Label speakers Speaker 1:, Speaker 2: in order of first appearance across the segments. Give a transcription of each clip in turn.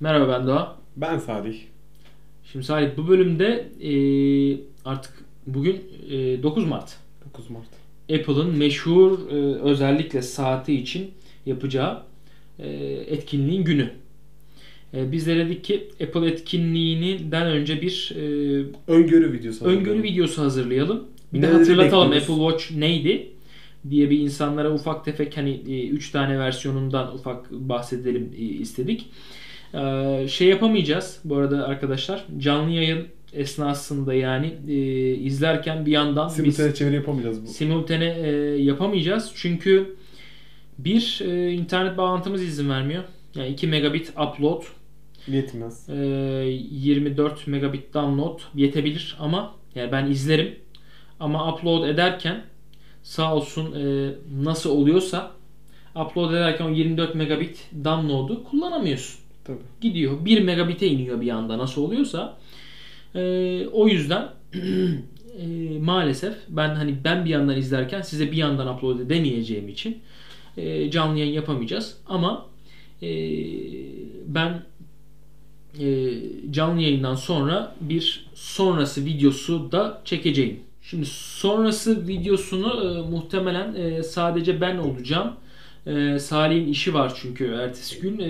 Speaker 1: Merhaba ben Doğa.
Speaker 2: Ben Salih.
Speaker 1: Şimdi Salih bu bölümde e, artık bugün e, 9 Mart.
Speaker 2: 9 Mart.
Speaker 1: Apple'ın meşhur e, özellikle saati için yapacağı e, etkinliğin günü. E, biz de dedik ki Apple etkinliğinden önce bir e,
Speaker 2: Öngörü videosu.
Speaker 1: öngörü videosu hazırlayalım. Bir de
Speaker 2: Neleri
Speaker 1: hatırlatalım Apple
Speaker 2: bekliyoruz?
Speaker 1: Watch neydi diye bir insanlara ufak tefek hani 3 tane versiyonundan ufak bahsedelim e, istedik. Ee, Şey yapamayacağız bu arada arkadaşlar canlı yayın esnasında yani e, izlerken bir yandan biz
Speaker 2: Simultane çeviri yapamayacağız bu.
Speaker 1: simultane e, yapamayacağız. Çünkü bir e, internet bağlantımız izin vermiyor. Yani 2 megabit upload
Speaker 2: Yetmez.
Speaker 1: ee, 24 megabit download yetebilir ama yani ben izlerim ama upload ederken sağ olsun e, nasıl oluyorsa upload ederken o 24 megabit download'u kullanamıyorsun.
Speaker 2: Tabii.
Speaker 1: Gidiyor 1 megabite iniyor bir anda nasıl oluyorsa. Ee, o yüzden e, maalesef ben hani ben bir yandan izlerken size bir yandan upload edemeyeceğim için e, canlı yayın yapamayacağız ama e, ben e, canlı yayından sonra bir sonrası videosu da çekeceğim. Şimdi sonrası videosunu e, muhtemelen e, sadece ben olacağım. E, Salih'in işi var çünkü ertesi gün. E,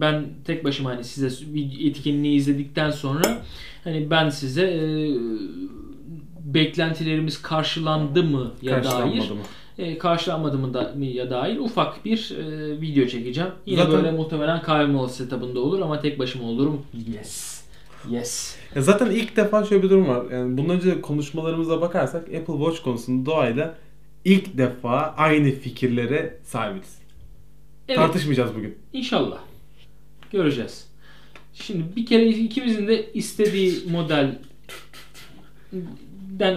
Speaker 1: ben tek başıma hani size vid- etkinliği izledikten sonra hani ben size e, beklentilerimiz karşılandı mı ya dair
Speaker 2: Karşılanmadı mı?
Speaker 1: e, karşılanmadı mı da, mı ya dair ufak bir e, video çekeceğim. Yine
Speaker 2: Zaten-
Speaker 1: böyle muhtemelen kahve molası setup'ında olur ama tek başıma olurum. Yes. Yes.
Speaker 2: Ya zaten ilk defa şöyle bir durum var. Yani bundan önce konuşmalarımıza bakarsak Apple Watch konusunda doğayla ilk defa aynı fikirlere sahibiz.
Speaker 1: Evet
Speaker 2: Tartışmayacağız bugün.
Speaker 1: inşallah. Göreceğiz. Şimdi bir kere ikimizin de istediği modelden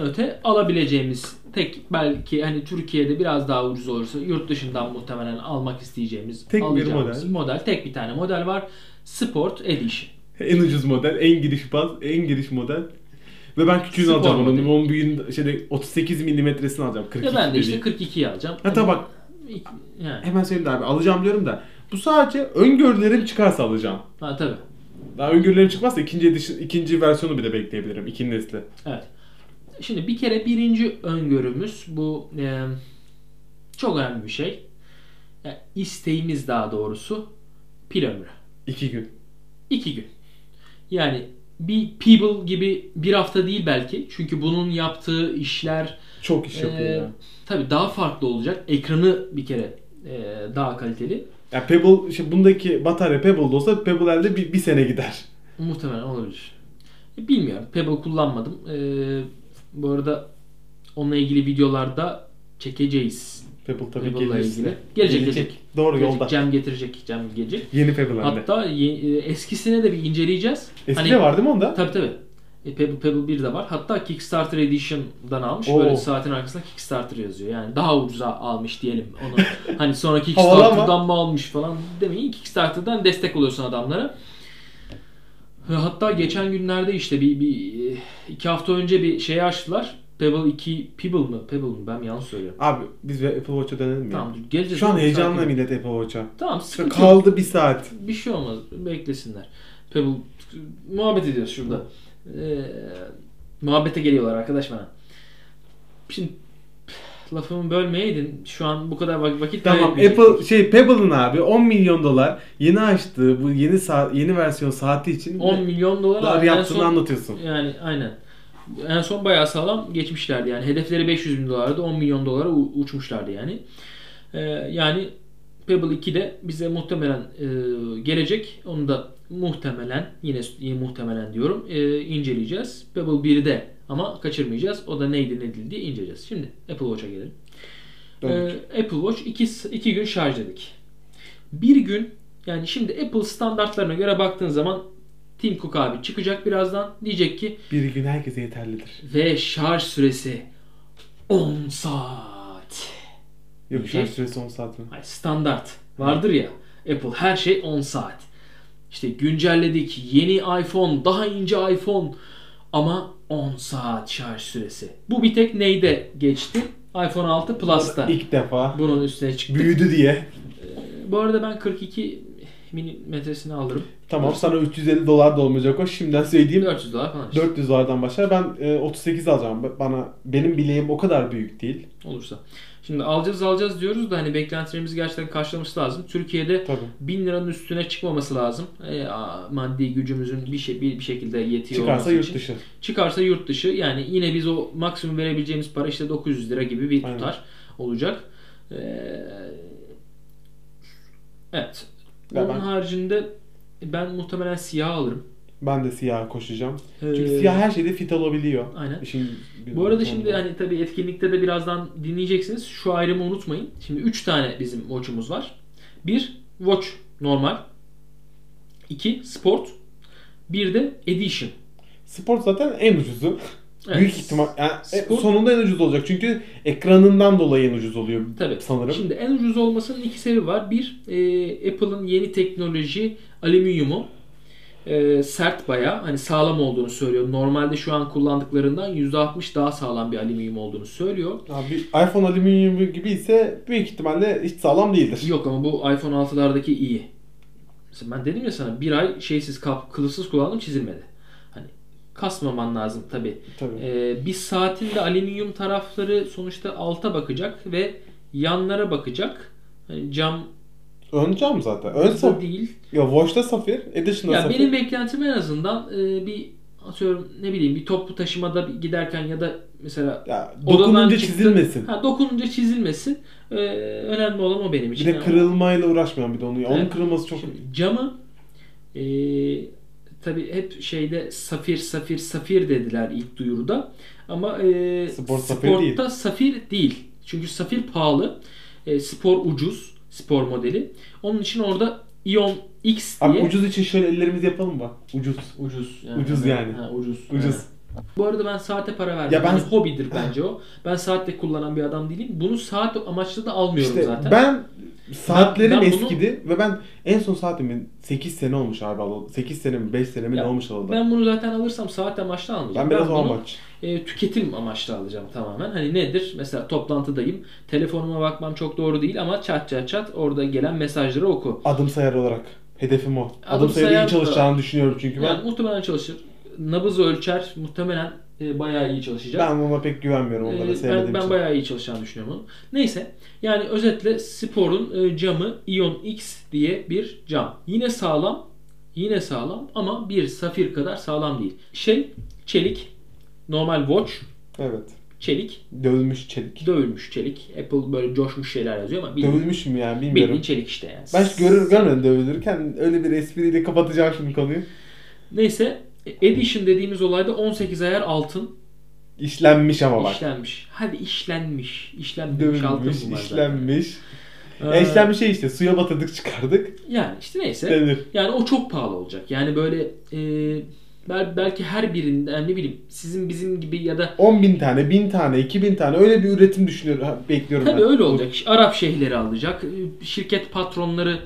Speaker 1: öte alabileceğimiz tek belki hani Türkiye'de biraz daha ucuz olursa yurt dışından muhtemelen almak isteyeceğimiz
Speaker 2: Tek bir
Speaker 1: alacağımız model tek bir tane model var. Sport Edition.
Speaker 2: En ucuz model, en giriş baz, en giriş model. Ve ben küçüğünü
Speaker 1: Spor
Speaker 2: alacağım
Speaker 1: modeli.
Speaker 2: onun. Onun büyüğünü şeyde 38 milimetresini alacağım. 42
Speaker 1: Ya ben de işte
Speaker 2: dediği.
Speaker 1: 42'yi alacağım.
Speaker 2: Ha tabii bak
Speaker 1: Yani.
Speaker 2: hemen söyleyeyim de abi alacağım diyorum da bu sadece öngörülerim çıkarsa alacağım.
Speaker 1: Ha tabii.
Speaker 2: Daha öngörülerim çıkmazsa ikinci ediş- ikinci versiyonu bile bekleyebilirim. ikinci nesli.
Speaker 1: Evet. Şimdi bir kere birinci öngörümüz bu e, çok önemli bir şey. Yani isteğimiz daha doğrusu pil ömrü.
Speaker 2: İki gün.
Speaker 1: 2 gün. Yani bir People gibi bir hafta değil belki. Çünkü bunun yaptığı işler
Speaker 2: Çok iş yapıyor
Speaker 1: e,
Speaker 2: ya.
Speaker 1: tabii daha farklı olacak. Ekranı bir kere e, daha kaliteli.
Speaker 2: Ya Pebble, işte bundaki batarya Pebble'da olsa Pebble elde bir, bir sene gider.
Speaker 1: Muhtemelen olabilir. E, Bilmiyorum. Pebble kullanmadım. E, bu arada onunla ilgili videolarda çekeceğiz.
Speaker 2: Pebble tabii
Speaker 1: Pebble'la
Speaker 2: gelirse.
Speaker 1: ilgili. Gelecek, gelecek.
Speaker 2: Doğru
Speaker 1: Gelecek,
Speaker 2: yolda.
Speaker 1: Cem getirecek. Cem gelecek.
Speaker 2: Yeni Pebble hem de.
Speaker 1: Hatta ye- e, eskisine de bir inceleyeceğiz. Hani
Speaker 2: Eski de var değil mi onda?
Speaker 1: Tabii tabii. E, Pebble, Pebble 1 de var. Hatta Kickstarter Edition'dan almış.
Speaker 2: Oo.
Speaker 1: Böyle saatin arkasında Kickstarter yazıyor. Yani daha ucuza almış diyelim onu. hani sonra
Speaker 2: Havalı ama.
Speaker 1: Kickstarter'dan mı almış falan demeyin. Kickstarter'dan destek oluyorsun adamlara. Ve Hatta geçen günlerde işte bir, bir e, iki hafta önce bir şey açtılar. Pebble 2 Pebble mı? Pebble mı? Ben yanlış söylüyorum.
Speaker 2: Abi biz bir Apple Watch'a dönelim mi?
Speaker 1: Tamam
Speaker 2: Tamam.
Speaker 1: dur, geleceğiz.
Speaker 2: Şu an
Speaker 1: Sakin.
Speaker 2: heyecanla millet Apple Watch'a.
Speaker 1: Tamam
Speaker 2: İşte
Speaker 1: sıkıntı yok.
Speaker 2: kaldı bir saat.
Speaker 1: Bir şey olmaz. Beklesinler. Pebble muhabbet ediyoruz şurada. Ee, muhabbete geliyorlar arkadaş bana. Şimdi lafımı bölmeyeydin. Şu an bu kadar vak- vakit
Speaker 2: Tamam
Speaker 1: kaybetmeyecektik.
Speaker 2: Apple şey Pebble'ın abi 10 milyon dolar yeni açtığı bu yeni saat yeni versiyon saati için
Speaker 1: 10 milyon dolar
Speaker 2: dolar
Speaker 1: abi, en
Speaker 2: yaptığını
Speaker 1: son-
Speaker 2: anlatıyorsun.
Speaker 1: Yani aynen. En son bayağı sağlam geçmişlerdi yani. Hedefleri 500 bin dolardı. 10 milyon dolara u- uçmuşlardı yani. Ee, yani Pebble 2 de bize muhtemelen e, gelecek. Onu da muhtemelen yine s- yine muhtemelen diyorum e, inceleyeceğiz. Pebble 1'de ama kaçırmayacağız. O da neydi ne değildi diye inceleyeceğiz. Şimdi Apple Watch'a gelelim.
Speaker 2: Döndük.
Speaker 1: Ee, Apple Watch 2 gün şarj dedik. Bir gün yani şimdi Apple standartlarına göre baktığın zaman Tim Cook abi çıkacak birazdan. Diyecek ki
Speaker 2: Bir gün herkese yeterlidir.
Speaker 1: ve şarj süresi 10 saat.
Speaker 2: Yok
Speaker 1: Şey-
Speaker 2: şarj süresi 10 saat mi?
Speaker 1: Ay, standart vardır ya Apple her şey 10 saat. İşte güncelledik yeni iPhone daha ince iPhone ama 10 saat şarj süresi. Bu bir tek neyde geçti? iPhone 6 Plus'ta.
Speaker 2: İlk defa
Speaker 1: Bunun üstüne çıktı.
Speaker 2: büyüdü diye.
Speaker 1: Bu arada ben 42 milimetresini alırım.
Speaker 2: Tamam sana 350 dolar da olmayacak o. Şimdiden söyleyeyim.
Speaker 1: 400 dolar falan işte.
Speaker 2: 400 dolardan başlar. Ben e, 38 alacağım. B- Bana benim bileğim o kadar büyük değil.
Speaker 1: Olursa. Şimdi alacağız alacağız diyoruz da hani beklentilerimizi gerçekten karşılaması lazım. Türkiye'de
Speaker 2: Tabii.
Speaker 1: 1000 liranın üstüne çıkmaması lazım. E, a- maddi gücümüzün bir şey bir, bir şekilde yetiyor
Speaker 2: Çıkarsa
Speaker 1: olması
Speaker 2: yurt
Speaker 1: için.
Speaker 2: dışı.
Speaker 1: Çıkarsa yurt dışı yani yine biz o maksimum verebileceğimiz para işte 900 lira gibi bir
Speaker 2: Aynen.
Speaker 1: tutar olacak. Ee, evet.
Speaker 2: Ya
Speaker 1: Onun
Speaker 2: ben-
Speaker 1: haricinde ben muhtemelen siyah alırım.
Speaker 2: Ben de siyah koşacağım. Çünkü
Speaker 1: Ee,
Speaker 2: siyah her şeyde fit olabiliyor.
Speaker 1: Aynen.
Speaker 2: İşin-
Speaker 1: Bu arada şimdi hani tabii etkinlikte de birazdan dinleyeceksiniz. Şu ayrımı unutmayın. Şimdi 3 tane bizim watch'umuz var. 1 watch normal. 2 sport. Bir de edition.
Speaker 2: Sport zaten en ucuzu.
Speaker 1: Evet.
Speaker 2: Büyük ihtimal yani e,
Speaker 1: Spor-
Speaker 2: sonunda en ucuz olacak. Çünkü ekranından dolayı en ucuz oluyor
Speaker 1: Tabii.
Speaker 2: sanırım.
Speaker 1: Şimdi en ucuz olmasının iki sebebi var. Bir, e, Apple'ın yeni teknoloji alüminyumu e, sert bayağı. Hani sağlam olduğunu söylüyor. Normalde şu an kullandıklarından %60 daha sağlam bir alüminyum olduğunu söylüyor.
Speaker 2: Abi iPhone alüminyum gibi ise büyük ihtimalle hiç sağlam değildir.
Speaker 1: Yok ama bu iPhone 6'lardaki iyi. Mesela ben dedim ya sana bir ay şeysiz kap, kılıfsız kullandım çizilmedi. Hani kasmaman lazım tabi.
Speaker 2: Tabii.
Speaker 1: Ee, bir saatin de alüminyum tarafları sonuçta alta bakacak ve yanlara bakacak. Hani cam
Speaker 2: Ön cam zaten. Ön
Speaker 1: da
Speaker 2: saf.
Speaker 1: değil.
Speaker 2: Ya Watch'ta safir, Edition'da
Speaker 1: Ya
Speaker 2: safir.
Speaker 1: benim beklentim en azından e, bir atıyorum ne bileyim bir toplu taşımada bir giderken ya da mesela
Speaker 2: Ya
Speaker 1: odadan
Speaker 2: dokununca
Speaker 1: çıktın-
Speaker 2: çizilmesin.
Speaker 1: ha, dokununca çizilmesin. Ee, önemli olan o benim
Speaker 2: Bir
Speaker 1: için.
Speaker 2: de
Speaker 1: Yani
Speaker 2: kırılmayla uğraşmayan bir de onu. ya. Onun
Speaker 1: Evet.
Speaker 2: kırılması çok
Speaker 1: Şimdi camı e, tabi hep şeyde safir safir safir dediler ilk duyuruda ama e,
Speaker 2: Spor safir
Speaker 1: sportta safir değil. Çünkü safir pahalı. E, spor ucuz. Spor modeli. Onun için orada Ion X diye
Speaker 2: Abi ucuz için şöyle ellerimizi yapalım mı? Ucuz.
Speaker 1: ucuz
Speaker 2: Ucuz yani.
Speaker 1: Ha, ucuz.
Speaker 2: Ucuz.
Speaker 1: Aynen. Bu arada ben saate para verdim.
Speaker 2: Ya ben-
Speaker 1: Yani hobidir bence o. Ben saatte kullanan bir adam değilim. Bunu saat amaçlı da almıyorum
Speaker 2: İşte
Speaker 1: zaten.
Speaker 2: ben saatlerim
Speaker 1: Ben- ben bunu-
Speaker 2: eskidi ve ben en son saatimin 8 sene olmuş abi alalı. 8 sene mi 5 sene mi
Speaker 1: Ya
Speaker 2: ne olmuş alalı. Ben,
Speaker 1: Ben bunu zaten alırsam saat amaçlı almayacağım.
Speaker 2: biraz o
Speaker 1: bunu
Speaker 2: amaç.
Speaker 1: e, tüketim amaçlı alacağım tamamen. Hani nedir? Mesela toplantıdayım. Telefonuma bakmam çok doğru değil ama çat çat çat orada gelen mesajları oku.
Speaker 2: Adım sayar olarak. Hedefim o. Adım,
Speaker 1: Adım
Speaker 2: sayarı
Speaker 1: sayar-
Speaker 2: iyi çalışacağını düşünüyorum çünkü ben.
Speaker 1: Yani muhtemelen çalışır. Nabız ölçer. Muhtemelen e, bayağı iyi çalışacak.
Speaker 2: Ben ona pek güvenmiyorum
Speaker 1: Ee,
Speaker 2: onlara sevmediğim
Speaker 1: ben, ben
Speaker 2: için.
Speaker 1: bayağı iyi çalışacağını düşünüyorum onun. Neyse. Yani özetle sporun e, camı Ion X diye bir cam. Yine sağlam. Yine sağlam ama bir safir kadar sağlam değil. Şey çelik. Normal watch
Speaker 2: Evet.
Speaker 1: çelik.
Speaker 2: Dövülmüş çelik.
Speaker 1: Dövülmüş çelik. Apple böyle coşmuş şeyler yazıyor ama bildiğin,
Speaker 2: Dövülmüş mü yani bilmiyorum.
Speaker 1: bildiğin çelik işte yani.
Speaker 2: Ben hiç görür görmedim dövülürken öyle bir espriyle kapatacağım şimdi konuyu.
Speaker 1: Neyse Edition dediğimiz olayda 18 ayar altın
Speaker 2: İşlenmiş ama bak.
Speaker 1: işlenmiş. Hadi işlenmiş. İşlenmemiş altın
Speaker 2: Dövülmüş,
Speaker 1: bunlar zaten.
Speaker 2: işlenmiş. Ya
Speaker 1: Ee,
Speaker 2: işlenmiş şey işte suya batırdık çıkardık
Speaker 1: Yani işte neyse.
Speaker 2: denir.
Speaker 1: Yani o çok pahalı olacak. Yani böyle e, bel- belki her birinde yani ne bileyim sizin bizim gibi ya da
Speaker 2: 10 bin tane, 1000 tane, 2000 tane öyle bir üretim düşünüyorum, ha, bekliyorum
Speaker 1: tabii
Speaker 2: ben.
Speaker 1: öyle olacak. Arap şeyhleri alacak. e, Şirket patronları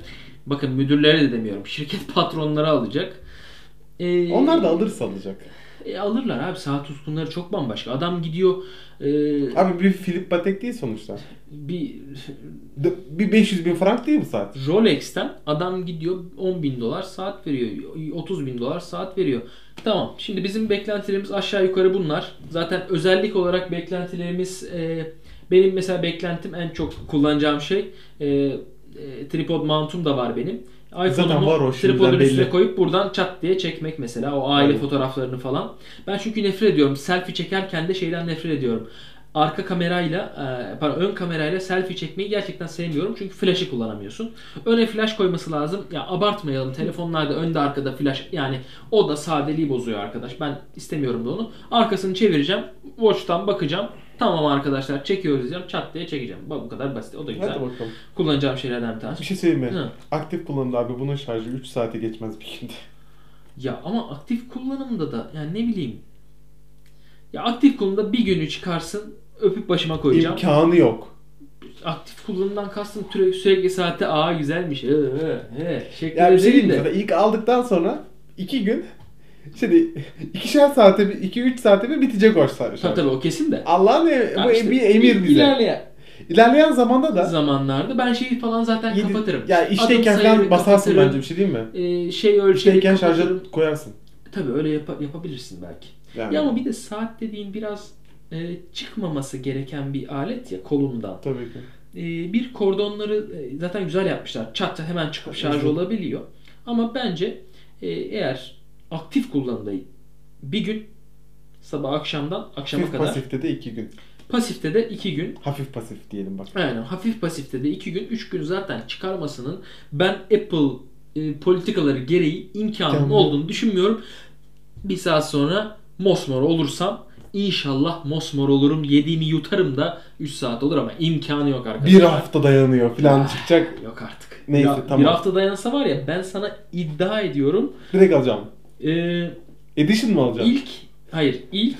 Speaker 1: bakın müdürlere de demiyorum. Şirket patronları alacak. E,
Speaker 2: Onlar da alırsa alacak.
Speaker 1: e, alırlar abi. Saat tutkunları çok bambaşka. Adam gidiyor e,
Speaker 2: Abi bir Philip Patek değil sonuçta.
Speaker 1: bir
Speaker 2: D- Bir 500 bin frank değil bu saat.
Speaker 1: Rolex'ten adam gidiyor 10 bin dolar saat veriyor. 30 bin dolar saat veriyor. Tamam. Şimdi bizim beklentilerimiz aşağı yukarı bunlar. Zaten özellik olarak beklentilerimiz e, benim mesela beklentim en çok kullanacağım şey e, e, tripod mount'um da var benim. iPhone'umu
Speaker 2: var o, şimdiden
Speaker 1: tripodun üstüne
Speaker 2: belli.
Speaker 1: koyup buradan çat diye çekmek mesela o aile
Speaker 2: Aynen.
Speaker 1: fotoğraflarını falan. Ben çünkü nefret ediyorum. Selfie çekerken de şeyden nefret ediyorum. Arka kamerayla, e, pardon ön kamerayla selfie çekmeyi gerçekten sevmiyorum. Çünkü flash'ı kullanamıyorsun. Öne flash koyması lazım. Ya abartmayalım. Telefonlarda önde arkada flash yani o da sadeliği bozuyor arkadaş. Ben istemiyorum da onu. Arkasını çevireceğim. Watch'tan bakacağım. Tamam arkadaşlar çekiyoruz diyeceğim. Çat diye çekeceğim. Bu bu kadar basit. O da güzel.
Speaker 2: Hadi bakalım.
Speaker 1: Kullanacağım şeylerden bir
Speaker 2: Bir
Speaker 1: tanesi.
Speaker 2: şey söyleyeyim mi?
Speaker 1: Hı.
Speaker 2: Aktif kullanımda abi bunun şarjı 3 saate geçmez bir günde.
Speaker 1: Ya ama aktif kullanımda da yani ne bileyim. Ya aktif kullanımda bir günü çıkarsın öpüp başıma koyacağım.
Speaker 2: İmkanı yok.
Speaker 1: aktif kullanımdan kastım sürekli, sürekli saatte aa güzelmiş. Ee, ee, ee, şeklinde
Speaker 2: Ya bir şey
Speaker 1: değil
Speaker 2: diyeyim
Speaker 1: de.
Speaker 2: mi sana? İlk aldıktan sonra 2 gün şimdi 2'şer saate 2-3 saate bir bitecek o şarj.
Speaker 1: Tabii tabii o kesin de.
Speaker 2: Allah ne
Speaker 1: Ya
Speaker 2: bu
Speaker 1: işte
Speaker 2: bir emir
Speaker 1: il-
Speaker 2: bize.
Speaker 1: ilerleyen-
Speaker 2: İlerleyen zamanda da
Speaker 1: zamanlarda ben şeyi falan zaten
Speaker 2: yedi-
Speaker 1: kapatırım.
Speaker 2: Ya işteyken
Speaker 1: Adım
Speaker 2: falan
Speaker 1: sayarı
Speaker 2: basarsın
Speaker 1: kapatırım.
Speaker 2: bence bir şey değil mi?
Speaker 1: Ee, şey ölçeği
Speaker 2: İşteyken şarja
Speaker 1: kapatırım.
Speaker 2: koyarsın.
Speaker 1: Tabii öyle yapa- yapabilirsin belki.
Speaker 2: Yani.
Speaker 1: Ya ama bir de saat dediğin biraz e, çıkmaması gereken bir alet ya kolundan.
Speaker 2: Tabii ki.
Speaker 1: E, bir kordonları e, zaten güzel yapmışlar. Çat çat hemen çıkıp şarj
Speaker 2: Evet.
Speaker 1: olabiliyor. Ama bence e, eğer aktif kullanılayım bir gün sabah akşamdan akşama
Speaker 2: Hafif
Speaker 1: kadar
Speaker 2: pasifte de iki gün.
Speaker 1: pasifte de iki gün
Speaker 2: Hafif pasif diyelim bak.
Speaker 1: Aynen. Hafif pasifte de 2 gün 3 gün zaten çıkarmasının ben Apple e, politikaları gereği imkanın
Speaker 2: Tamam.
Speaker 1: olduğunu düşünmüyorum. Bir saat sonra mosmor olursam inşallah mosmor olurum. Yediğimi yutarım da 3 saat olur ama imkanı yok arkadaşlar.
Speaker 2: Bir hafta dayanıyor
Speaker 1: Ah.
Speaker 2: falan çıkacak.
Speaker 1: Yok artık.
Speaker 2: Neyse,
Speaker 1: bir,
Speaker 2: tamam.
Speaker 1: bir hafta dayansa var ya ben sana iddia ediyorum.
Speaker 2: Direkt alacağım.
Speaker 1: E,
Speaker 2: Edition mı alacağım?
Speaker 1: ilk hayır ilk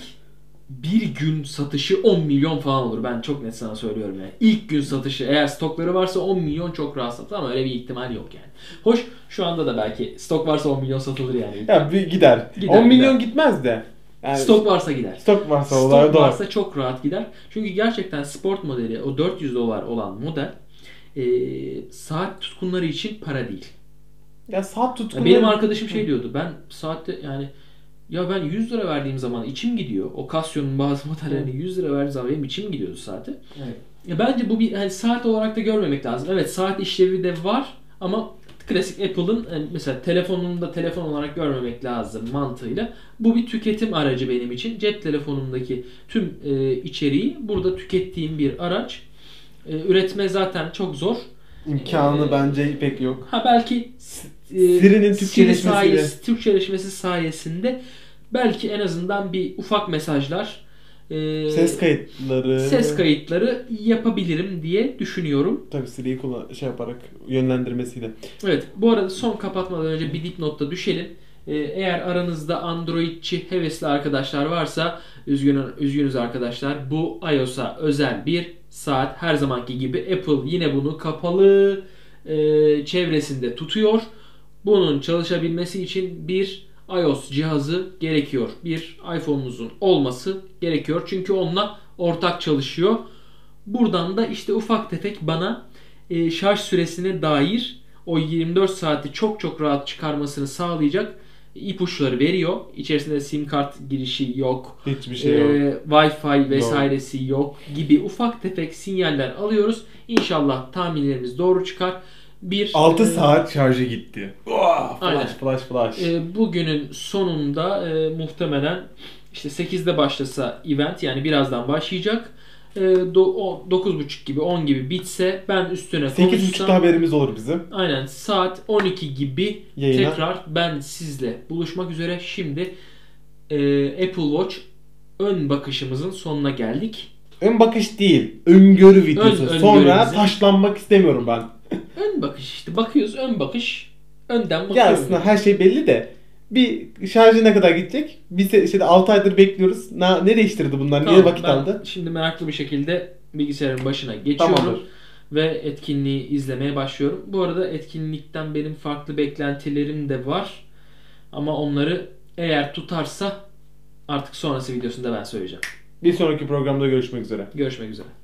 Speaker 1: bir gün satışı 10 milyon falan olur. Ben çok net sana söylüyorum yani. İlk gün satışı eğer stokları varsa 10 milyon çok rahat satılır ama öyle bir ihtimal yok yani. Hoş şu anda da belki stok varsa 10 milyon satılır yani.
Speaker 2: Ya bir gider.
Speaker 1: Gider,
Speaker 2: 10 milyon gitmez de. Yani
Speaker 1: Stok varsa gider.
Speaker 2: stok varsa olay
Speaker 1: Stok
Speaker 2: dolar.
Speaker 1: varsa çok rahat gider. Çünkü gerçekten sport modeli o 400 dolar olan model eee, saat tutkunları için para değil.
Speaker 2: Ya saat tutkunu.
Speaker 1: Ya benim arkadaşım şey diyordu. Ben saatte yani ya ben 100 lira verdiğim zaman içim gidiyor. O Casio'nun bazı modellerini 100 lira verdiğim zaman benim içim gidiyordu saate.
Speaker 2: Evet.
Speaker 1: Ya bence bu bir hani saat olarak da görmemek lazım. Evet saat işlevi de var ama klasik Apple'ın e, mesela telefonunu da telefon olarak görmemek lazım mantığıyla. Bu bir tüketim aracı benim için. Cep telefonumdaki tüm e, içeriği burada tükettiğim bir araç. E, üretme zaten çok zor.
Speaker 2: İmkanı
Speaker 1: Ee,
Speaker 2: bence pek yok.
Speaker 1: Ha belki e,
Speaker 2: Siri'nin Türkçeleşmesiyle.
Speaker 1: sayes- Türkçeleşmesi sayesinde belki en azından bir ufak mesajlar e,
Speaker 2: Ses kayıtları.
Speaker 1: ses kayıtları yapabilirim diye düşünüyorum.
Speaker 2: Tabii Siri'yi kullan şey yaparak yönlendirmesiyle.
Speaker 1: Evet bu arada son kapatmadan önce bir dipnotta düşelim. E, eğer aranızda Androidçi hevesli arkadaşlar varsa üzgün, üzgünüz arkadaşlar bu iOS'a özel bir saat her zamanki gibi Apple yine bunu kapalı e, çevresinde tutuyor. Bunun çalışabilmesi için bir iOS cihazı gerekiyor. Bir iPhone'unuzun olması gerekiyor. Çünkü onunla ortak çalışıyor. Buradan da işte ufak tefek bana e, şarj süresine dair o 24 saati çok çok rahat çıkarmasını sağlayacak ipuçları veriyor. İçerisinde sim kart girişi yok.
Speaker 2: Hiçbir şey yok.
Speaker 1: Ee, Wi-Fi vesairesi yok. gibi ufak tefek sinyaller alıyoruz. İnşallah tahminlerimiz doğru çıkar. Bir
Speaker 2: 6
Speaker 1: e,
Speaker 2: saat şarjı gitti. Oh, flash,
Speaker 1: Aynen.
Speaker 2: flash flash
Speaker 1: e, bugünün sonunda e, muhtemelen işte 8'de başlasa event yani birazdan başlayacak. E, do, o, 9.30 gibi 10 gibi bitse ben üstüne
Speaker 2: 8.30'da
Speaker 1: konuşsam
Speaker 2: haberimiz olur bizim.
Speaker 1: aynen saat 12 gibi
Speaker 2: Yayına.
Speaker 1: Tekrar ben sizle buluşmak üzere. Şimdi e, Apple Watch ön bakışımızın sonuna geldik.
Speaker 2: Ön bakış değil. Öngörü videosu.
Speaker 1: öngörümüzü.
Speaker 2: Sonra taşlanmak istemiyorum ben.
Speaker 1: Ön bakış işte bakıyoruz ön bakış. Önden
Speaker 2: Ya
Speaker 1: bakıyoruz.
Speaker 2: aslında her şey belli de bir şarjı ne kadar gidecek? Biz de işte 6 aydır bekliyoruz. Na, ne değiştirdi bunlar? Niye
Speaker 1: Tamam,
Speaker 2: vakit
Speaker 1: ben
Speaker 2: aldı?
Speaker 1: Şimdi meraklı bir şekilde bilgisayarın başına geçiyorum.
Speaker 2: Tamamdır.
Speaker 1: Ve etkinliği izlemeye başlıyorum. Bu arada etkinlikten benim farklı beklentilerim de var. Ama onları eğer tutarsa artık sonrası videosunda ben söyleyeceğim.
Speaker 2: Bir sonraki programda görüşmek üzere.
Speaker 1: Görüşmek üzere.